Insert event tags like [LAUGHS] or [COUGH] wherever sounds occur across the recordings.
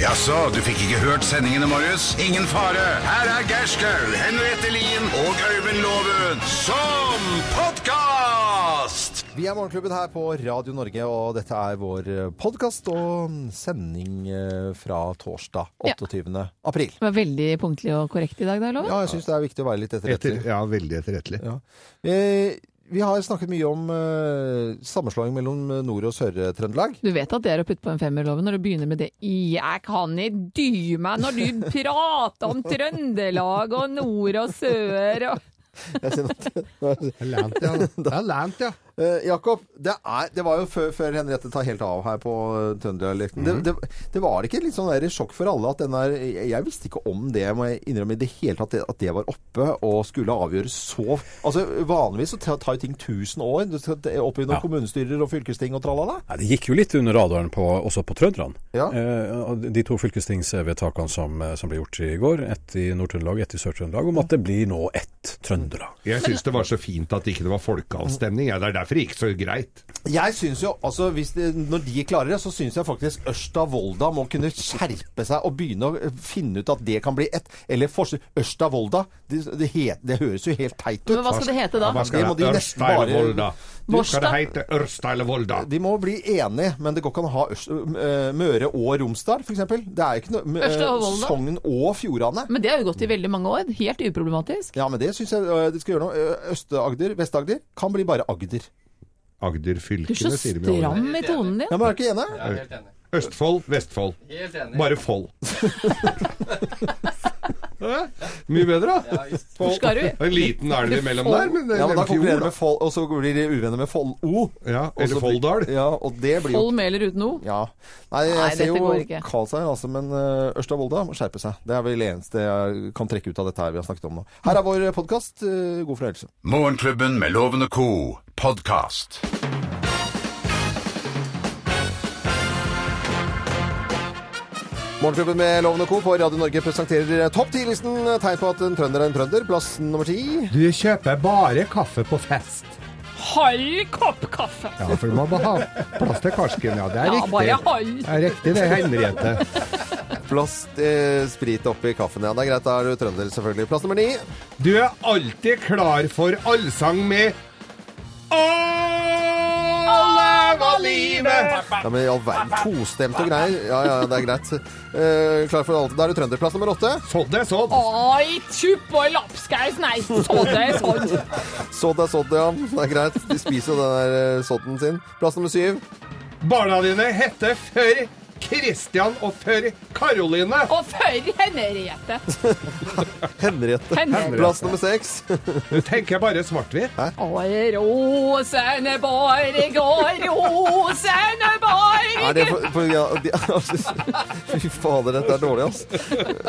Jaså, du fikk ikke hørt sendingene, Marius? Ingen fare. Her er Gerskaug, Henriette Lien og Øyvind Loven som podkast! Vi er Morgenklubben her på Radio Norge, og dette er vår podkast og sending eh, fra torsdag 28. april. Det var veldig punktlig og korrekt i dag, da, Loven. Ja, jeg syns det er viktig å være litt Etter, etterrettelig. ja, veldig etterrettelig. Ja. Eh, Vi har snakket mye om eh, sammenslåing mellom Nord- og Sør-Trøndelag. Du vet at det er å putte på en femmer, Loven, når du begynner med det Jeg kan ikke dy meg når du prater om Trøndelag og nord og sør og Jeg ser at- Lant, ja. [LAUGHS] Ja, lant, ja. Eh, Jakob, det, er, det var jo før, før Henriette tar helt av her på eh, Trønderdialekten. det, det, det var ikke litt sånn der sjokk for alle at den der jeg, jeg visste ikke om det, må jeg innrømme i det hele tatt, det- at det var oppe og skulle avgjøres så Altså vanligvis så ta- tar jo ting 1000 år. Du skal t- opp under Ja. kommunestyrer og fylkesting og tralala. Nei, det gikk jo litt under radaren på, også på trønderne. Ja. Eh, og de to fylkestingsvedtakene som, eh, som ble gjort i går, ett i Nord-Trøndelag, ett i Sør-Trøndelag, om at det blir nå ett Trøndelag. Jeg syns det var så fint at ikke det ikke var folkeavstemning. Ja, det er derfor det gikk så greit. Jeg syns jo, altså hvis det, når de klarer det, så syns jeg faktisk Ørsta Volda må kunne skjerpe seg og begynne å eh, finne ut at det kan bli ett. Eller forskjell. Ørsta Volda, det, det, het, det høres jo helt teit ut. Men hva skal det hete da? Hva skal Det må de det nesten Ørsta eller bare- Volda? Du, Borsta? skal det hete Ørsta eller Volda? De må bli enige, men det går ikke an å ha Ørs eh, Møre og Romsdal, f.eks. Det er jo ikke noe eh, Ørsta og Volda. Sogn og Fjordane. Men det har jo gått i veldig mange år. Helt uproblematisk. Ja, men det syns jeg eh, de skal gjøre noe. Eh, Øst-Agder, Vest-Agder kan bli bare Agder. Du er så Agderfylkene, sier de jo. stram i tonen din. Ja, men er du ikke enig? Jeg er helt enig. Østfold, Vestfold. Helt enig. Bare [LAUGHS] Fold. Ja, Mye bedre, da. Fold. Hvor skal du? En liten elv imellom der, men det Ja, men da er fjord, konkluderer da. med Fold, og så blir de uvenner med Fold-O. Ja, eller Folldal. Ja, og det blir jo Hold med eller uten O. Ja. Nei, jeg Nei, ser dette jo går ikke. Karlsheim, altså, men eh, Ørsta Volda må skjerpe seg. Det er vel det eneste jeg kan trekke ut av dette her vi har snakket om nå. Her er vår podkast. God fornøyelse. Morgenklubben med Loven og co. podkast. Morgenklubben med Loven og Co. på Radio Norge presenterer eh, topp ti-listen. Tegn på at en trønder er en trønder. Plass nummer ti. Du kjøper bare kaffe på fest. Halv kopp kaffe! Ja, for du må bare ha plass til karsken. Ja, det er Ja, bare halv. riktig. Det er riktig det, Henriette. Plass eh, sprit oppi kaffen. Ja, det er greit. Da er du trønder, selvfølgelig. Plass nummer ni. Du er alltid klar for allsang med Alle var livet! Ja, men i all verden. Tostemt og greier. Ja, ja, det er greit. Eh, klar for alt. Da er du trønder. Plass nummer åtte. Sånn det er sånn. Oi, tjupp og lapskaus, nei, så det er sånn. Sodd er sodd, ja. Det er greit. De spiser jo den der eh, sodden sin. Plass nummer syv. Barna dine heter før Christian og før Karoline. Og før Henriette. Henriette. Henriette. Plass nummer seks. Du tenker bare svart-hvitt. Og rosene bare går, rosene Er bare det for, for, ja, de, [LAUGHS] altså, Fy fader, dette er dårlig, altså.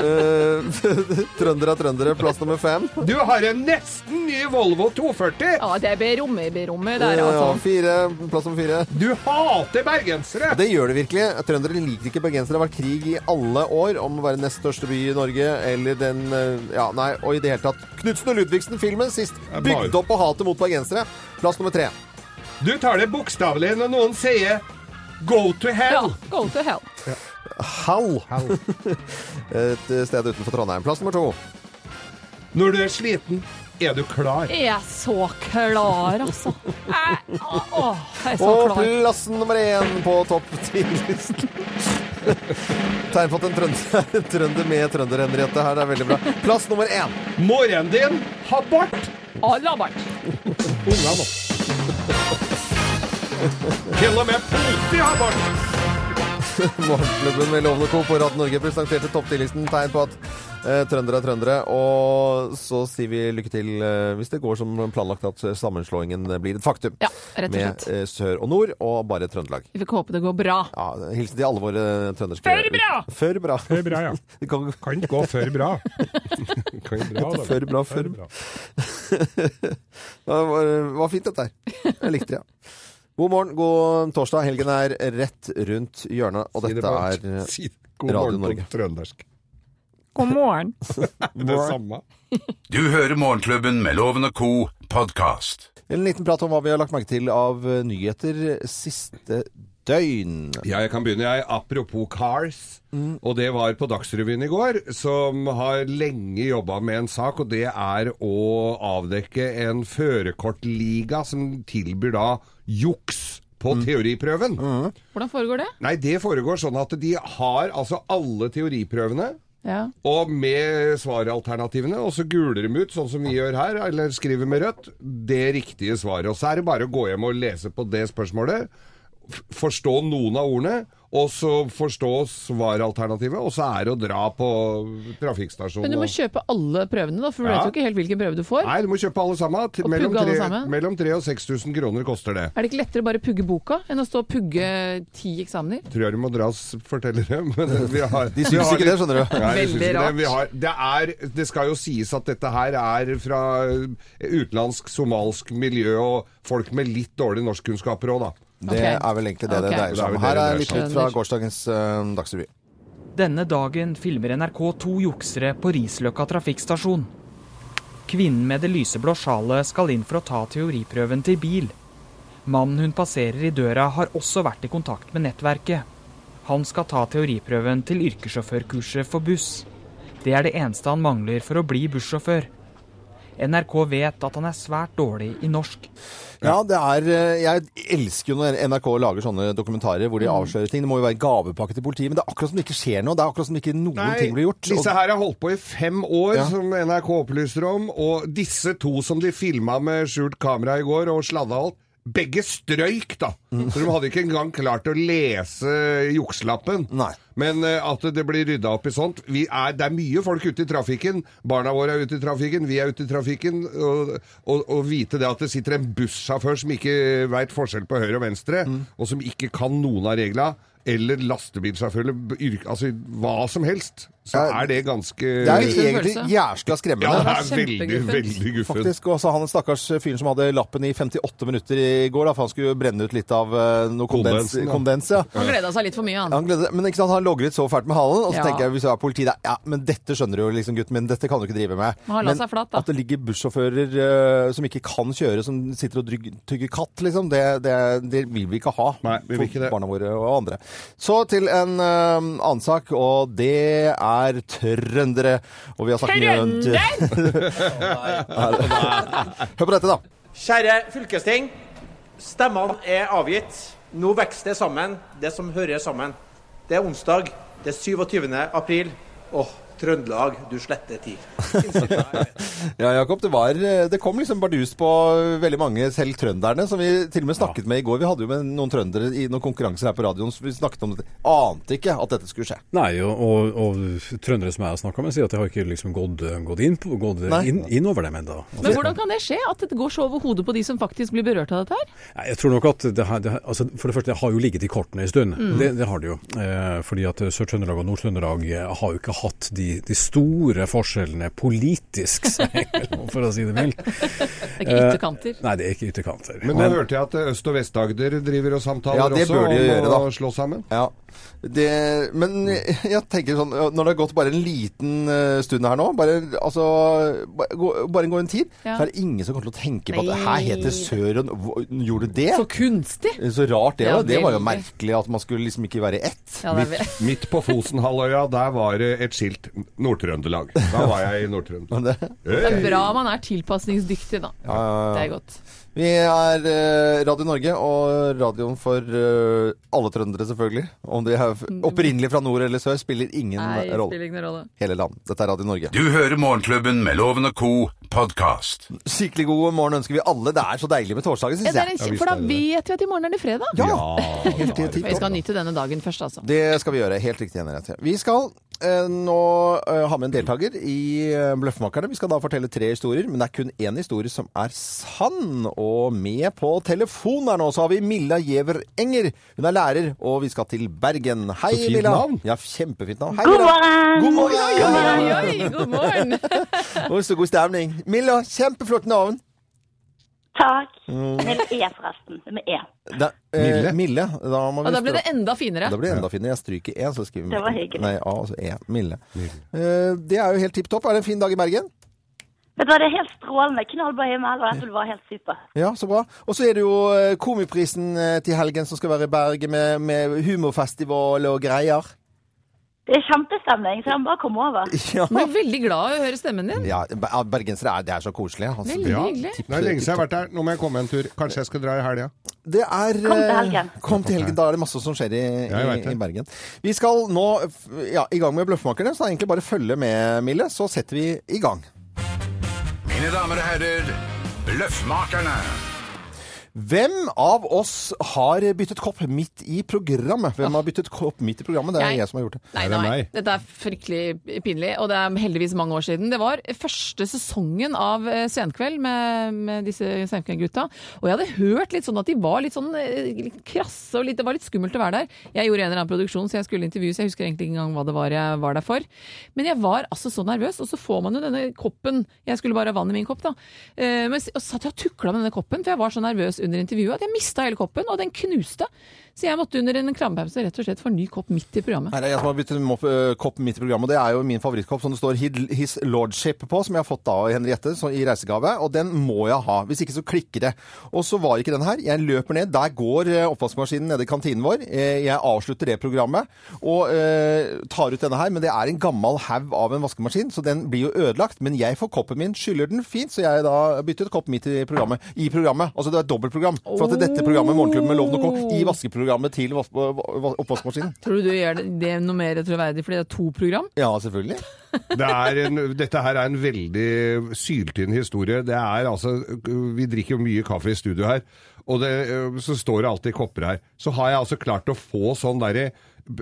Eh, [LAUGHS] trøndere er trøndere. Plass nummer fem. Du har en nesten ny Volvo 240. Ja, det er berommet, berommet der, Ja, altså. fire, plass nummer fire. Du hater bergensere. Det gjør det virkelig. Trøndere liker ikke bergensere. Det har vært krig i alle år om å være nest største by i Norge, eller den eh, Ja, nei, og i det hele tatt. Knutsen og Ludvigsen-filmen sist Ja, bare- bygde opp på hatet mot bergensere. Plass nummer tre. Du tar det bokstavelig når noen sier Go to Ja, hell. go to hell. Hall. [LAUGHS] Et eh, sted utenfor Trondheim. Plass nummer to. Når du er sliten, er du klar. Jeg er så klar, altså. Jeg, å, å, jeg er så Og klar. plassen nummer én på topp ti-listen. [LAUGHS] Tegn på at en trønder, [LAUGHS] en trønder med trønder, Henriette. Her det er veldig bra. Plass nummer én. Moren din har bart. Alabart. Unga nå. Til og med politi har bart. Morgenklubben med Lovende Co. på Radio Norge presenterte topp ti-listen. Tegn på at eh, trøndere er trøndere. Og så sier vi lykke til eh, hvis det går som planlagt at sammenslåingen blir et faktum. Ja, rett og slett. Med eh, sør og nord og bare Trøndelag. Vi får håpe det går bra. Ja, Hilsen til alle våre trønderske Før bra! Før bra. Det er bra, ja. [LAUGHS] Det kan- Kan gå før bra. [LAUGHS] Kan bra da. Før bra, før bra. Det var, var fint dette her. Jeg likte det. Ja. God morgen, god torsdag. Helgen er rett rundt hjørnet, og Si det dette på- er eh, si- God Radio morgen Norge. på trøndersk. God morgen. Det samme. Du hører Morgenklubben med Loven og co. podkast. en liten prat om hva vi har lagt merke til av eh, nyheter siste døgn. Ja, jeg kan begynne, jeg. Apropos Cars. Mm. Og det var på Dagsrevyen i går, som har lenge jobba med en sak, og det er å avdekke en førerkortliga som tilbyr da juks på Mm. teoriprøven. Hvordan foregår det? Nei, det foregår sånn at de har altså alle teoriprøvene. Ja. Og med svaralternativene, og så guler de ut, sånn som vi gjør her, eller skriver med rødt, det riktige svaret. Og så er det bare å gå hjem og lese på det spørsmålet, f- forstå noen av ordene, og så forstå svaralternativet, og så er det å dra på Men du trafikkstasjonen. må og- kjøpe alle prøvene, da, for du Ja. vet jo ikke helt hvilken prøve du får. Nei, du må kjøpe alle sammen. Til- Og Mellom pugge alle 3, sammen? mellom 3 og 6000 kroner koster det. Er det ikke lettere å bare pugge boka enn å stå og pugge ti eksamener? Tror jeg du må dra oss fortellere, men vi har De syns ikke det, skjønner du. Nei, jeg synes Veldig ikke rart. Det, Vi har, det, er, det skal jo sies at dette her er fra eh, utenlandsk, somalsk miljø og folk med litt dårlige norskkunnskaper òg, da. Det Ok. er vel egentlig det Ok. det dreier seg om. Det er vel det Her det er dreier litt seg om. ut fra gårsdagens eh, Dagsrevy. Denne dagen filmer NRK to juksere på Risløkka trafikkstasjon. Kvinnen med det lyseblå sjalet skal inn for å ta teoriprøven til bil. Mannen hun passerer i døra har også vært i kontakt med nettverket. Han skal ta teoriprøven til yrkessjåførkurset for buss. Det er det eneste han mangler for å bli bussjåfør. NRK vet at han er svært dårlig i norsk. Ja, det er eh, Jeg elsker jo når NRK lager sånne dokumentarer Mm. hvor de avslører ting. Det må jo være gavepakke til politiet, men det er akkurat som det ikke skjer noe. Det er akkurat som ikke noen ting blir gjort. Disse her har holdt på i fem år, Ja. som NRK opplyser om. Og disse to som de filma med skjult kamera i går og sladda alt, begge strøyk, da. Mm. Så de hadde ikke engang klart å lese jukselappen. Nei. Men eh, at det blir rydda opp i sånt vi er, Det er mye folk ute i trafikken. Barna våre er ute i trafikken, vi er ute i trafikken. Og, og, og vite det at det sitter en bussjåfør som ikke veit forskjell på høyre og venstre, Mm. og som ikke kan noen av regla, eller lastebilsjåfører, yrk- altså hva som helst, så Ja, er det ganske Og det er Litt jo en egentlig følelse. jæskla Ja, skremmende. det det er er veldig, kjempeguffent. veldig guffent. Faktisk, og så han stakkars fyren som hadde lappen i 58 minutter i går, da, for han skulle brenne ut litt av eh, noe kondens. Kondensen, ja. kondens ja. Han gleda seg litt for mye, han. Han gleder, seg- men ikke sant, han logret så fælt med halen, og så Ja. tenker jeg hvis du er politi da, Ja, men dette skjønner du jo, liksom, gutten min. Dette kan du ikke drive med. Men han la seg flat, da. at det ligger bussjåfører eh, som ikke kan kjøre, som sitter og drygg- tygger katt, liksom, det, det, det vil vi ikke ha Nei, vi vil ikke det. for barna våre og andre. Så til en eh, annen sak, og det er trøndere. Og vi har snakket mye om [LAUGHS] Hør på dette, da. Kjære fylkesting. Stemmene er avgitt. Nå vokser det sammen, det som hører sammen. Det er onsdag, det er 27. april. Åh, Trøndelag, du sletter tid. Ja, Jakob, det, var, det kom liksom bardus på veldig mange, selv trønderne, som vi til og med snakket med i går. Vi hadde jo med noen trøndere i noen konkurranser her på radioen, så vi snakket om dette. Ante ikke at dette skulle skje. Nei, og, og, og trøndere som jeg har snakka med, sier at jeg har ikke liksom gått, gått, inn, på, gått Nei. inn, inn over dem Altså, ennå. Men hvordan kan det skje? At det går så over hodet på de som faktisk blir berørt av dette her? Nei, Jeg tror nok at det her, det her, altså For det første, det har jo ligget i kortene en stund. Det, det har det jo. Eh, fordi at Sør-Trøndelag og Nord-Trøndelag eh, har jo ikke hatt de, de store forskjellene politisk [LAUGHS] seg imellom, for å si det mildt. Det er Eh, ikke ytterkanter. Nei, det er ikke ytterkanter. Men nå hørte jeg at eh, Øst- og Vest-Agder driver og samtaler Ja, det også bør om de gjøre, å da. slå sammen. Ja, det, men [LAUGHS] jeg tenker sånn, når det har gått bare en liten eh, stund her nå, bare, altså, ba- gå- bare gå en tid, Ja. så er det ingen som kommer til å tenke på at det her Nei. heter Sør, og hva- gjorde det? Så kunstig! Så rart det Ja, var. Det var jo veldig. merkelig at man skulle liksom ikke være i ett. [LAUGHS] Ja, det er [LAUGHS] vel- Midt på Fosenhalvøya, der var det et skilt Nord-Trøndelag. Da var jeg i [LAUGHS] Nord-Trøndelag. Men det... det er bra man er tilpasningsdyktig, da. Det er godt. Vi er eh, Radio Norge, og radioen for eh, alle trøndere, selvfølgelig. Om de er f- opprinnelig fra nord eller sør, spiller ingen Mm. Nei, rolle. spiller ingen rolle. Hele land. Dette er Radio Norge. Du hører Morgenklubben med Loven og Co. podkast. Skikkelig god morgen ønsker vi alle. Det er så deilig med torsdagen, Ja, syns det er jeg. en, kje- for da vet vi at i morgen er det fredag. Helt til Vi skal tipp nyte denne dagen først, altså. Det skal vi gjøre. Helt riktig, Henriette. Vi skal eh, nå eh, ha med en deltaker i eh, Bløffmakerne. Vi skal da fortelle tre historier, men det er kun én historie som er sann. Og med på telefon her nå så har vi Milla Giæver Enger. Hun er lærer, og vi skal til Bergen. Hei, Så fint Milla. navn. Ja, kjempefint navn. Hei, God Milla. morgen! God morgen! Oi, oi, oi, god morgen! Oi, så god stemning. Milla, kjempeflott navn. Takk. Med E, forresten. Med E. Da, eh, Mille. Mille. Da må Og vi da ble spørre- det enda finere. Da blir det enda finere. Jeg stryker E, så skriver vi Det var hyggelig. Nei, A, altså E. Mille. Eh, det er jo helt tipp topp. Er det en fin dag i Bergen? Vet du hva, det er helt strålende. Knallbra himmel, og dette vil være helt super. Ja, så bra. Og så er det jo eh, Komiprisen eh, til helgen som skal være i Bergen med, med humorfestival og [LAUGHS] greier. Det er kjempestemning, så jeg må bare komme over. Ja. Jeg blir veldig glad av å høre stemmen din. Ja, ber- bergensere er, det er så koselig. Altså. Veldig hyggelig. tipp- Det er lenge siden jeg har vært der. Nå må jeg komme en tur. Kanskje jeg skal dra i helga. Det er Kom til eh, helgen. Kom til helgen. Da er det masse som skjer i, Ja, jeg i, vet det. i Bergen. Vi skal nå f- ja, i gang med Bløffmakerne, så det er egentlig bare å følge med, Mille, så setter vi i gang. Mine damer og herrer, Bløffmakerne. [LAUGHS] Hvem av oss har byttet kopp midt i programmet? Hvem har byttet kopp midt i programmet? Det er Jeg. jeg som har gjort det. Nei, Er Ah. det nei, meg? dette er fryktelig pinlig, og det er heldigvis mange år siden. Det var første sesongen av eh, Senkveld med, med disse Senkveld-gutta. Og jeg hadde hørt litt sånn at de var litt sånn eh, litt krasse, og litt, det var litt skummelt å være der. Jeg gjorde en eller annen produksjon, så jeg skulle intervjues. Jeg husker egentlig ikke engang hva det var jeg var der for. Men jeg var altså så nervøs, og så får man jo denne koppen. Jeg skulle bare ha vann i min kopp, da. Eh, Men, s- og satt jeg og tukla med denne koppen, for jeg var så nervøs under intervjuet at jeg mista hele koppen, og den knuste. Så jeg måtte under en krampepause rett og slett få en ny kopp midt i programmet. Nei, det er jeg som har byttet mopp, ø, kopp midt i programmet, og det er jo min favorittkopp som det står Hid- His Lordship på, som jeg har fått da av Henriette så, i reisegave, og den må jeg ha. Hvis ikke så klikker det. Og så var ikke den her. Jeg løper ned. Der går ø, oppvaskmaskinen nede i kantinen vår. Eh, Jeg avslutter det programmet og ø, tar ut denne her, men det er en gammel haug av en vaskemaskin, så den blir jo ødelagt. Men jeg får koppen min, skyller den fint, så jeg da byttet kopp midt i programmet. I programmet. Altså det er et dobbeltprogram. For at dette programmet, Morgenklubben med Loven og Co, i vaskeprogrammet til vas- va- oppvaskmaskinen. Tror du du gjør det, det er noe mer troverdig fordi det er to program? Ja, selvfølgelig. Det er en, dette her er en veldig syltynn historie. Det er altså, Vi drikker jo mye kaffe i studio her, og det, eh, så står det alltid kopper her. Så har jeg altså klart å få sånn derre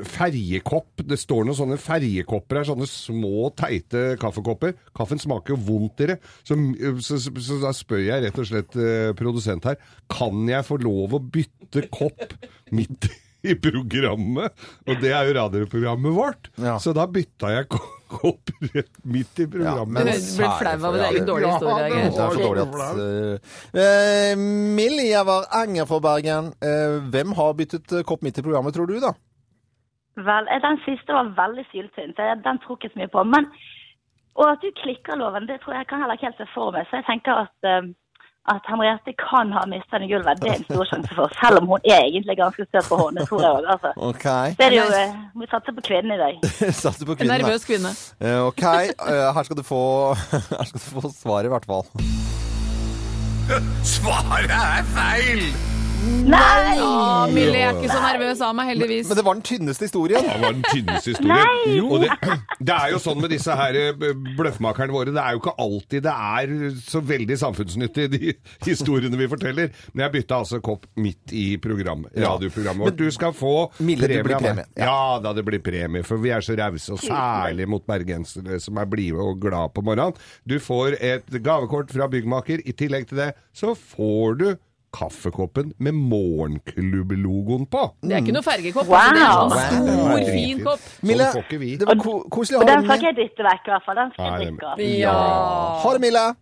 ferjekopp. Det står noen sånne ferjekopper her, sånne små, teite kaffekopper. Kaffen smaker jo vondt i det. Så, eh, så, så, så da spør jeg rett og slett eh, produsent her, kan jeg få lov å bytte kopp midt i i programmet, og det er jo radioprogrammet vårt. Ja. Så da bytta jeg [LAUGHS] ko- kopp rett midt i programmet. Ja, Du men- ble flau av det, det er jo en dårlig Ja, historie. det Det Geir. er så dårlig at eh, eh, Mill Gjevar Enger fra Bergen. Eh, hvem har byttet eh, kopp midt i programmet, tror du, da? Vel, eh, den siste var veldig syltynn, så jeg- den tror ikke så mye på. Men, og at du klikker loven, det tror jeg kan heller ikke helt se for meg. Så jeg tenker at, eh, at Henriette kan ha mistet den i gulvet. Det er en stor sjanse for, selv om hun er egentlig ganske støt på hånden. Det tror jeg òg, altså. OK. [LAUGHS] Så er det jo, eh, må satse på kvinnen i dag. Satser på En kvinnen. nervøs kvinne. her. Eh, OK, eh, her skal du få [LAUGHS] Her skal du få svar, i hvert fall. Svaret er feil! Nei! Å, Millie jeg er ikke så nervøs av meg, heldigvis. Men det var den tynneste historien. Det var den tynneste historien. Og det, det er jo sånn med disse her eh, bløffmakerne våre, det er jo ikke alltid det er så veldig samfunnsnyttig, de [LAUGHS] historiene vi forteller. Men jeg bytta altså kopp midt i program, radioprogrammet vårt. Du skal få Mille, det blir av meg. premie. Ja. da, det blir premie. For vi er så rause, og særlig mot bergensere som er blide og glad på morgenen. Du får et gavekort fra byggmaker. I tillegg til det så får du kaffekoppen med morgenklubblogoen på. Det er ikke noe fergekopp. Wow. altså, Det er en Det var stor, dritfint. fin kopp. Mille, Sånn får ikke vi. det var ko koselig Og å den ha deg skal ikke med. jeg dytte vekk, i hvert fall. Den skal Nei, jeg det- drikke av. Ja. Ha det, Mille.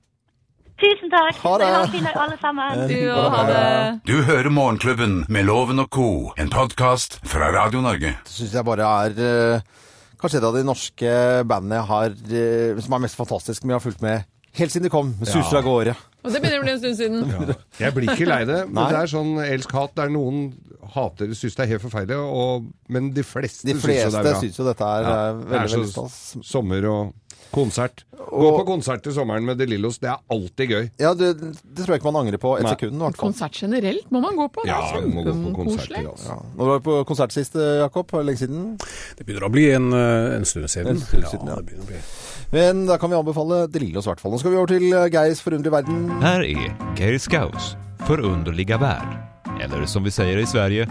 Tusen takk. Ha det. Ha en fin dag, alle sammen. Du og ha det. Du hører Morgenklubben med Loven og co., en podkast fra Radio Norge. Det syns jeg bare er eh, kanskje et av de norske bandene jeg har, eh, som er mest fantastisk, men jeg har fulgt med helt siden de kom. med Suser av gårde. Og det begynner å bli en stund siden. [LAUGHS] Jeg blir ikke lei det, men Nei. det er sånn elsk-hat der noen hater syns det er helt forferdelig, og, men de fleste, De syns jo det fleste er bra. syns jo dette er eh, det veldig, er veldig så stas. sommer og konsert. Gå på konsert til sommeren med De Lillos, det er alltid gøy. Ja, det, det tror jeg ikke man angrer på et sekund. i hvert fall. Konsert generelt må man gå på. Det er du må gå på konserter, kjempekoselig. altså. Når du var på konsert sist, eh, Jakob, for lenge siden. Det begynner å bli en, eh, en stund siden. En stund siden, ja. det begynner å bli. Men da kan vi anbefale Drillås, i hvert fall. Nå skal vi over til eh, Geirs forunderlige verden. Här är Geir Skaus förunderliga värld. Eller som vi säger i Sverige,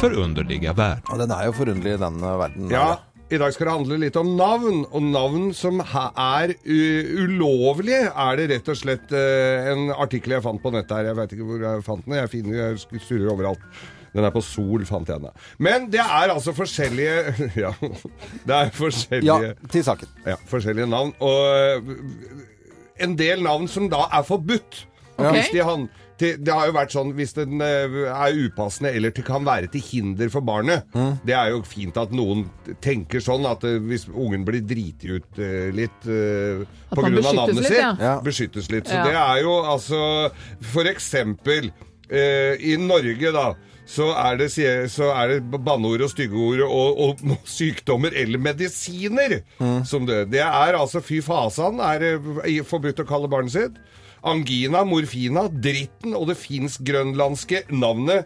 förunderliga värld. Og den er jo forunderlig, den eh, verden. Ja, i dag skal det handle litt om navn, og navn som ha- er u- ulovlige, er det rett og slett eh, en artikkel jeg fant på nettet her. Jeg vet ikke hvor jeg fant den, jeg, finner, jeg sk- surrer overalt. Den er på Sol, fant jeg den. da. Men det er altså forskjellige [LAUGHS] Ja, det er Ja, forskjellige til saken. ja, forskjellige navn. Og øh, en del navn som da er forbudt. Ok. Hvis de han, til, det har jo vært sånn hvis den eh, er upassende eller til, kan være til hinder for barnet. Mm. Det er jo fint at noen tenker sånn at eh, hvis ungen blir driti ut eh, litt eh, At på man grunn beskyttes av navnet litt, sitt, ja. Ja. beskyttes litt. Så Ja. det er jo altså For eksempel eh, i Norge, da. Så er det, sie- så er det banneord og styggeord og, og [LAUGHS] sykdommer eller medisiner Mm. som det. Det er altså fy fasan er det i- forbudt å kalle barnet sitt. Angina, morfina, dritten og det finsk-grønlandske navnet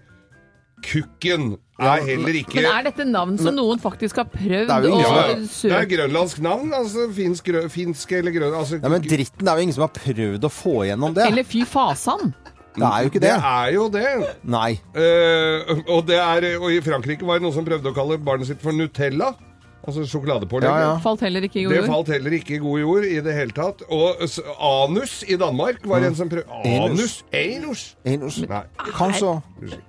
kukken er heller ikke Men er altså dette navn som noen faktisk har prøvd Det er jo å ingen ja, Det er søke grønlandsk navn, altså finsk, grø, finsk eller grønn altså, Ja, men dritten det er jo ingen som har prøvd å få igjennom det. Eller fy fasan! Det er jo ikke det. det er jo det. Nei. Eh, og, det er, og i Frankrike var det noen som prøvde å kalle barnet sitt for Nutella. Altså sjokoladepålegg. Ja, ja. Falt heller ikke i Det god jord. falt heller ikke i god jord i det hele tatt. Og s- anus i Danmark var en som prøvde Anus? Anus. Anus? Inus. Nei. Kanskje.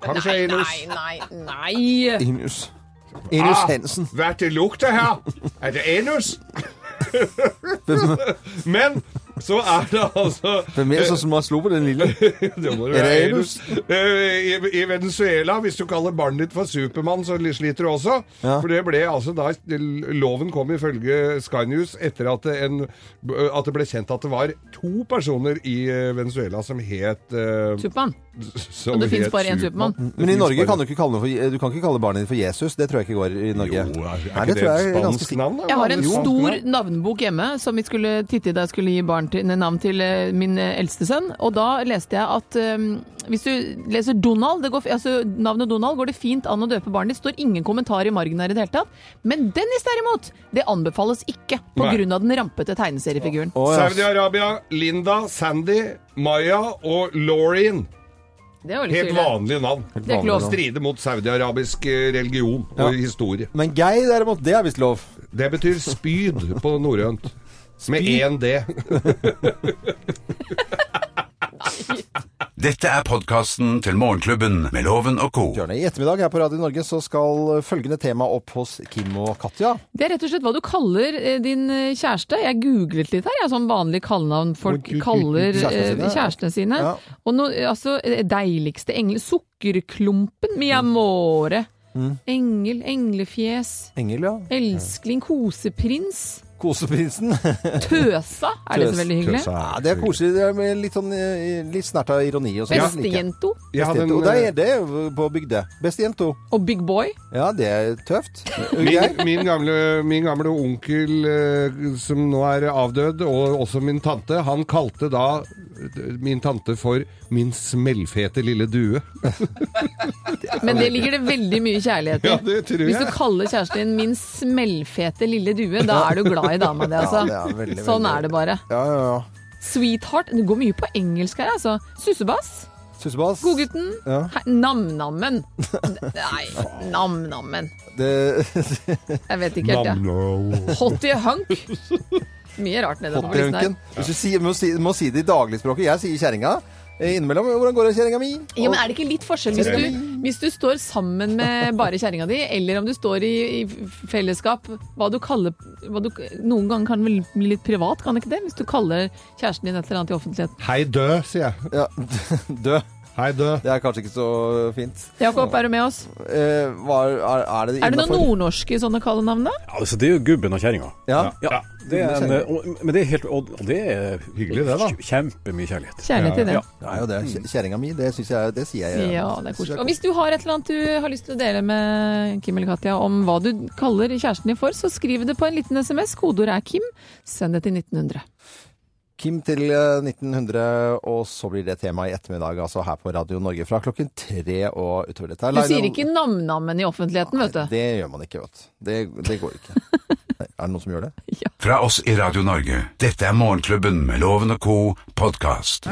Kanskje anus. Ah, Nei, nei, nei! Inus. Inus Ah, Hensen. Hva er det lukter her? Er det anus? [LAUGHS] Men så er det altså Hvem er det som har slo på den lille? Det må Er det det være anus? Eh, I, I Venezuela, hvis du kaller barnet ditt for Supermann, så sliter du også. Ja. For det ble altså da Loven kom ifølge Sky News etter at det, en, at det ble kjent at det var to personer i eh, Venezuela som het eh, Supermann. som Og det finnes het bare én Superman. Supermann. Men i finnes Norge bare- kan du ikke kalle, noe for, du kan ikke kalle barnet ditt for Jesus. Det tror jeg ikke går i Norge. Jo, er, er Nei, ikke det det tror jeg et er ganske spansk sikkert. navn? da? Jeg har en Jo. stor navnebok hjemme som vi skulle titte i da jeg skulle gi barn til, navn til eh, min eh, eldste sønn. Og da leste jeg at eh, hvis du leser Donald, det går, f- altså navnet Donald, går det fint an å døpe barnet ditt. Står ingen kommentar i margen her i det hele tatt. Men Dennis derimot, det anbefales ikke Nei. pga. den rampete tegneseriefiguren. Å, ja. Saudi-Arabia, Linda, Sandy, Maya og Lauren. Det var litt Helt tydelig. vanlige navn. Det er ikke lov. Strider mot saudi-arabisk eh, religion og historie. Men Geir derimot, det er visst lov. Det betyr spyd på norrønt. Med én D. Dette er podkasten til Morgenklubben med Loven og co. Bjørne, I ettermiddag her på Radio Norge så skal følgende tema opp hos Kim og Katja. Det er rett og slett hva du kaller eh, din eh, kjæreste. Jeg googlet litt her, jeg, sånn vanlig kallenavn folk Hvor- kaller Kjærestene eh, sine, ja. kjærestene sine. Ja. Og no, altså, eh, deiligste engel Sukkerklumpen, mi amore. Mm. Engel, englefjes, Engel, ja. elskling, koseprins. Koseprinsen. Tøsa er det Tøs- så veldig hyggelig. Tøsa Ja, det er koselig. Det er med litt, sånn, eh, litt snert av ironi og sånn. Det liker jeg. Bestejento Jeg hadde en, Bestejento. Det eh, er det er på bygde. Bestejento. og Big Boy. Ja, det er tøft. min, Geir? min, gamle, min gamle onkel, eh, som nå er avdød, og også min tante, han kalte da eh, min tante for 'min smellfete lille due'. Men det ligger det veldig mye kjærlighet i. Ja, det tror Hvis du jeg. kaller kjæresten din 'min smellfete lille due', da er du glad i dama di, altså. Ja, det er veldig, sånn veldig- er det bare. Ja, ja, ja. Sweetheart. Det går mye på engelsk her, altså. Sussebass. Sussebass. Godgutten. Ja. Hei, Nam-nammen. [LAUGHS] Nei, nam-nammen. Det, Jeg vet ikke helt, jeg. Ja. Hotty hunk. Mye rart nedi den listen her. Hottihunken. Hvis du sier, må, si, må si det i dagligspråket. Jeg sier kjerringa eh, innimellom. Hvordan går det, kjerringa mi? Ja, men er det ikke litt forskjell hvis du, hvis du står sammen med bare kjerringa di, eller om du står i, i fellesskap Hva du kaller hva du, Noen ganger kan det vel bli litt privat, kan det ikke det? Hvis du kaller kjæresten din et eller annet i offentligheten. Hei dø, sier jeg. Ja, død. Hei dø. Det er kanskje ikke så fint. Jakob, er du med oss? Eh, hva, er, er det Er det noen innenfor? nordnorske i sånne kallenavn, da? Ja, altså, det er jo gubben og kjerringa. Ja. Ja, det er en, og, men det er helt og, og det er Hyggelig det, da. Kjempemye kjærlighet. Kjærlighet i det. Ja. Det er jo det. Kje- Kjerringa mi, det syns jeg Det sier jeg. Ja, det er synes jeg koselig. Og hvis du har et eller annet du har lyst til å dele med Kim eller Katja om hva du kaller kjæresten din for, så skriv det på en liten SMS. Kodeordet er Kim. Send det til 1900. Kim til eh, 1900, og så blir det tema i ettermiddag, altså her på Radio Norge fra klokken tre og utover dette. Du sier ikke nam-nammen i offentligheten, vet du. Det gjør man ikke, vet du. Det, det går ikke. [LAUGHS] Nei, Er det noen som gjør det? Fra oss i Radio Norge. Dette er Morgenklubben med Loven og co. podkast.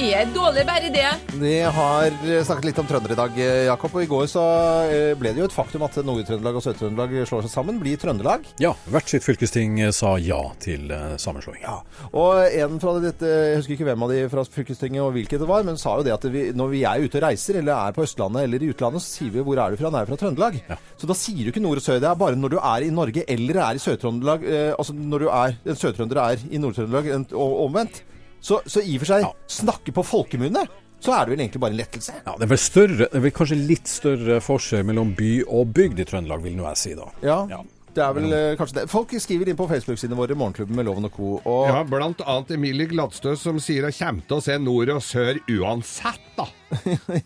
Jeg er dårlig det er bare det. Vi har eh, snakket litt om trøndere i dag, Jakob. Og i går så eh, ble det jo et faktum at Nord-Trøndelag og Sør-Trøndelag slår seg sammen, blir Trøndelag. Ja, hvert sitt fylkesting eh, sa ja til eh, sammenslåing. Ja. Og en fra dette, jeg husker ikke hvem av de fra fylkestinget og hvilket det var, men sa jo det at vi, når vi er ute og reiser, eller er på Østlandet eller i utlandet, så sier vi 'hvor er du fra'? Nei, jeg er fra Trøndelag. Så da sier du ikke nord og sør. Det er bare når du er i Norge eller er i Sør-Trøndelag, eh, altså når du er, en sør-trønder er i Nord-Trøndelag en- og omvendt. Så, så i og for seg, Ja. snakke på folkemunne, så er det vel egentlig bare en lettelse. Ja, det er vel større, det er vel kanskje litt større forskjell mellom by og bygd i Trøndelag, vil nå jeg si da. Ja. Ja. Det er vel eh, kanskje det. Folk skriver inn på Facebook-sidene våre, Morgenklubben med Loven og Co. Og Ja, blant annet Emilie Gladstø som sier at kjem til å se nord og sør uansett, da.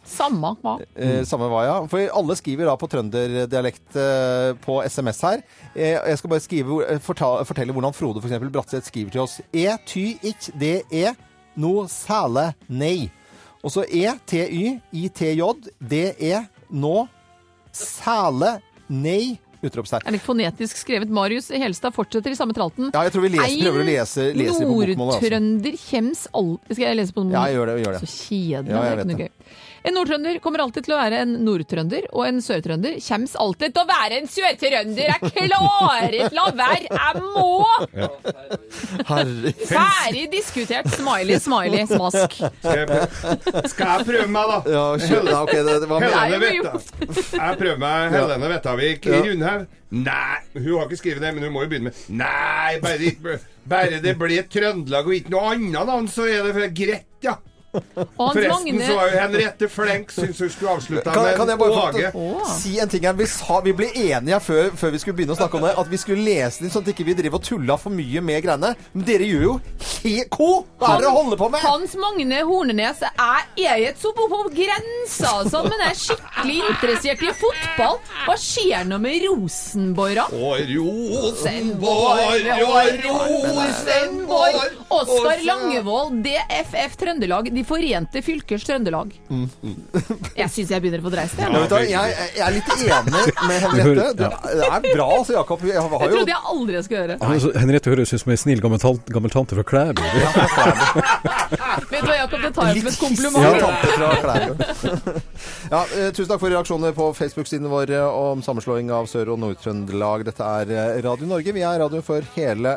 Samme hva. eh, samme hva, ja. For alle skriver da på trønderdialekt eh, på SMS her. Eh, og jeg skal bare skrive, hvor- eh, forta, fortelle hvordan Frode for eksempel Bratseth skriver til oss. E ty ikk det e no sæle nei. Og så e t y i t j det e nå sæle nei utropstegn. Er det ikke fonetisk skrevet? Marius i Helstad fortsetter i samme tralten. Ja, jeg tror vi leser, prøver å lese, lese det på bokmålet. Altså. Nordtrønder kjems all... Skal jeg lese på Ja, bokmål? gjør det. gjør det. Så Ja, kjedelig. det jeg er ikke vet noe gøy. En nordtrønder kommer alltid til å være en nordtrønder, og en sørtrønder kjems alltid til å være en sørtrønder. Jeg klarer ikke la være! Jeg må! [LAUGHS] Herre. Ferdig diskutert. Smiley, [LAUGHS] smiley, smask. Skal jeg- Skal jeg prøve meg, da? Ja, skjønner, jeg. ok, det, det var Ja. Helene Nei, men jo. Vettavik. Jeg prøver meg Helene Vettavik i Ja. Rundhaug. Nei, hun har ikke skrevet det, men hun må jo begynne med Nei, bare, bare det ble Trøndelag og ikke noe annet navn, så er det greit, ja. Og Hans Forresten så Magne var jo Henriette Flenk syns hun skulle avslutta Kan, med kan jeg bare få Åge. Åh. si en ting her? Vi, sa, vi ble enige før, før vi skulle begynne å snakke om det, at vi skulle lese den sånn at ikke vi drev og tulla for mye med greiene. Men dere gjør jo he ko! Hva er det dere holder på med? Hans Magne Hornenes er eget så på, på grensa, altså, men er skikkelig interessert i fotball. Hva skjer nå med Rosenborg? da? Og Rosenborg og Rosenborg! Rosenborg Oskar Langevold, DFF Trøndelag, De forente fylkers Trøndelag. [LAUGHS] Jeg syns jeg begynner å få dreist det. Mm, Ja, vet du, hva, jeg, jeg er litt enig med Henriette. [LAUGHS] Du, det er bra, altså, Jakob. Jeg har Jeg jo trodde jeg aldri jeg skulle gjøre. Altså, Henriette høres ut som en snill gammel, tal- gammel tante fra Klæbu. Vet du hva, Jakob, det tar jeg som litt et hissige kompliment. tante fra Klæbu. [LAUGHS] ja, eh, tusen takk for reaksjonene på Facebook-sidene våre om sammenslåing av Sør- og Nord-Trøndelag. Dette er eh, Radio Norge. Vi er radio for hele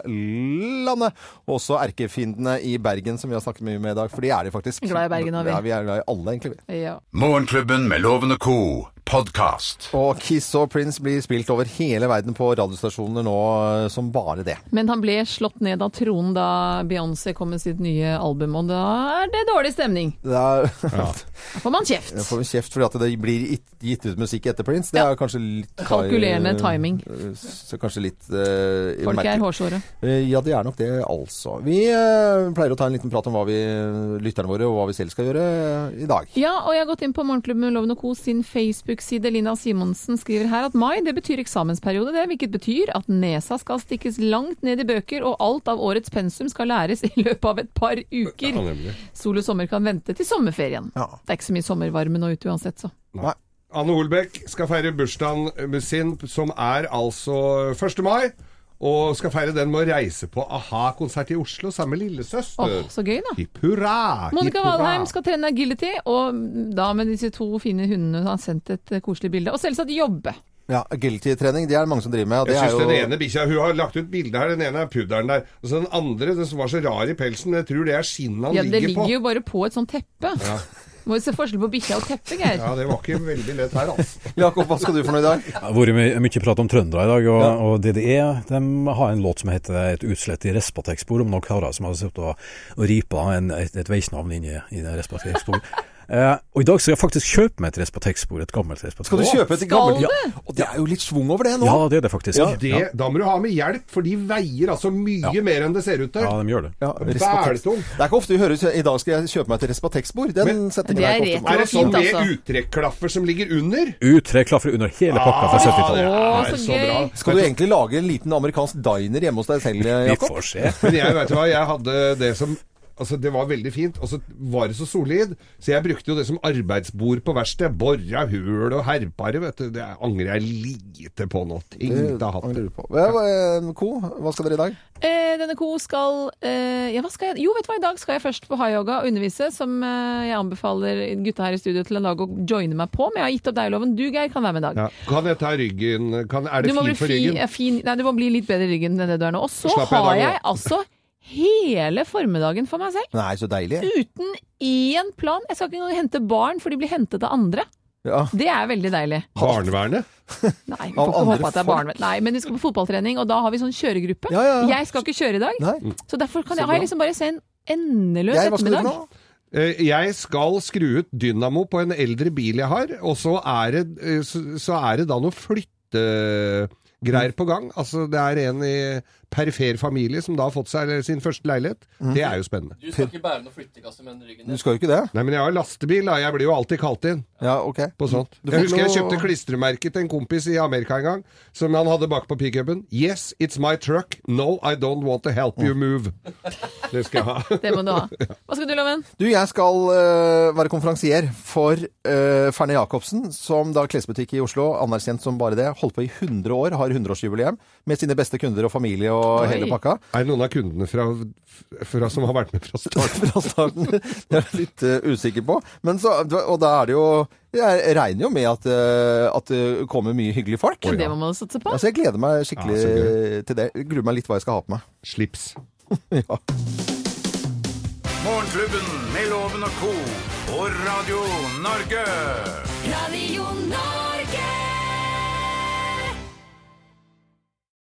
landet. Også erkefiendene i Bergen, som vi har snakket mye med i dag. For de er de faktisk. Glad i Bergen, er vi. Ja, vi er glad i alle, egentlig. vi. Ja. Morgenklubben med Loven og Co. Podcast. Og Kiss og Prince blir spilt over hele verden på radiostasjoner nå eh, som bare det. Men han ble slått ned av tronen da Beyoncé kom med sitt nye album, og da er det dårlig stemning. Det er, [LAUGHS] Da får man kjeft. jeg får kjeft fordi at det blir gitt- gitt ut musikk etter Prince. Det Ja. er kanskje litt Kalkulerende timing. Så kanskje litt eh, Folk merkelig. er hårsåre. Eh, Ja, det er nok det, altså. Vi eh, pleier å ta en liten prat om hva vi lytterne våre og hva vi selv skal gjøre eh, i dag. Ja, og jeg har gått inn på Morgenklubben med Loven og Co. sin Facebook-side. Lina Simonsen skriver her at mai det betyr eksamensperiode, det, hvilket betyr at nesa skal stikkes langt ned i bøker, og alt av årets pensum skal læres i løpet av et par uker. Sol og sommer kan vente til sommerferien. Ja. Det er ikke så mye sommervarme nå ute uansett, så. Nei. Anne Holbæk skal feire bursdagen sin, som er altså 1. mai. Og skal feire den med å reise på a-ha-konsert i Oslo sammen med Åh, lillesøster. så gøy, da. Hipp hurra! Monica hipp hurra. Valheim skal trene agility, og da med disse to fine hundene hun har sendt et eh, koselig bilde. Og selvsagt jobbe. Ja, Agility-trening, det er det mange som driver med. Og det Jeg er syns jo den ene bikkja Hun har lagt ut bilde her. Den ene er puddelen der. Og så den andre, den som var så rar i pelsen, jeg tror det er skinnet han Ja, det ligger på. ligger jo bare på et sånt teppe. Må jo se forskjell på bikkja og teppet, Geir. Ja, det var ikke veldig lett her, altså. [LAUGHS] Jakob, hva skal du for noe i dag? Det har vært mye- mye prat om trøndere i dag, og, og DDE de har en låt som heter 'Et utslett i Respatex-spor', om noen karer som har sittet og, og ripa en, et, et veisnavn inn i, i [LAUGHS] det Respatex-sporet. eh, og i dag skal jeg faktisk kjøpe meg et Respatex-spor, et gammelt Skal du Respatex-spor. kjøpe et Skal gammelt du? Og det er jo litt schwung over det nå. Ja, det er det faktisk. Ja, Det, Da må du ha med hjelp, for de veier altså mye mer enn det ser ut til. Ja, de gjør det. Ja, Bæltung. Respatex. Det er ikke ofte vi hører I dag skal jeg kjøpe meg et Respatex-bord. Den Men- setningen Det er er ikke ofte retro. man- Er det sånn fint, med altså. uttrekklaffer som ligger under? U3 klaffer under hele pakka Ah, fra Å, 70-tallet. det er så så gøy. bra. Skal du egentlig lage en liten amerikansk diner hjemme hos deg selv, Vi Jakob? får se. Men jeg vet du hva, jeg hadde det som Altså, det var veldig fint, og så var det så solid. Så jeg brukte jo det som arbeidsbord på verksted. Borra hull og herpare, vet du. Det angrer jeg lite på nå. Ting det har hatt. Angrer du på. Hva- hva- Ko, hva skal dere i dag? Eh, denne ko skal eh, ja, hva skal jeg? Jo, vet du hva, i dag skal jeg først på high-yoga og undervise, som eh, jeg anbefaler gutta her i studio til en dag å joine meg på, men jeg har gitt opp deg-loven. Du, Geir, kan være med i dag. Ja. Kan jeg ta ryggen kan, Er Du det må, bli fint for fi, ryggen? ja, fin, nei, du må bli litt bedre i ryggen enn det du er nå. Og så Slapp jeg har i dag, jeg altså hele formiddagen for meg selv. Nei, så deilig. Uten én plan. Jeg skal ikke engang hente barn, for de blir hentet av andre. Ja. Det er veldig deilig. Barnevernet? Nei, vi får ikke andre håpe at det er barn. Nei, men vi skal på fotballtrening, og da har vi sånn kjøregruppe. Ja, ja, ja. Jeg skal ikke kjøre i dag, Mm. Nei. så derfor kan jeg, har jeg liksom bare se en endeløs Jeg, hva skal du for ettermiddag. noe? Eh, Jeg skal skru ut dynamo på en eldre bil jeg har, og så er det, eh, så så er det da noe flyttegreier på gang. Altså, det er en i perifer familie som da har fått seg sin første leilighet. Mm. Det er jo spennende. Du skal ikke bære noen flyttekasse med den ryggen. Du skal jo ikke det? Nei, men jeg har lastebil, da. Jeg blir jo alltid kalt inn Ja, ok. på sånt. Du Jeg får husker ikke jeg noe- kjøpte klistremerket til en kompis i Amerika en gang, som han hadde bak på pickupen. Yes, it's my truck. No, I don't want to help you move. Det skal [LAUGHS] jeg ha. Det må du ha. Hva skal du, Loven? Du, jeg skal øh, være konferansier for øh, Ferne Jacobsen, som da klesbutikk i Oslo, anerkjent som bare det, holdt på i 100 år, har 100-årsjubileum, med sine beste kunder og familie og Oi. hele pakka. Er det noen av kundene fra, fra, som har vært med fra starten? [LAUGHS] Fra starten. Det er jeg litt øh, usikker på. Men så, og da er det jo Jeg regner jo med at, øh, at det kommer mye hyggelige folk. Det må man satse på. Altså, jeg gleder meg skikkelig Ja, så gøy. til det. Jeg Gruer meg litt hva jeg skal ha på meg. Slips. Ja. Morgenklubben med Loven og co. på Radio Norge. Radio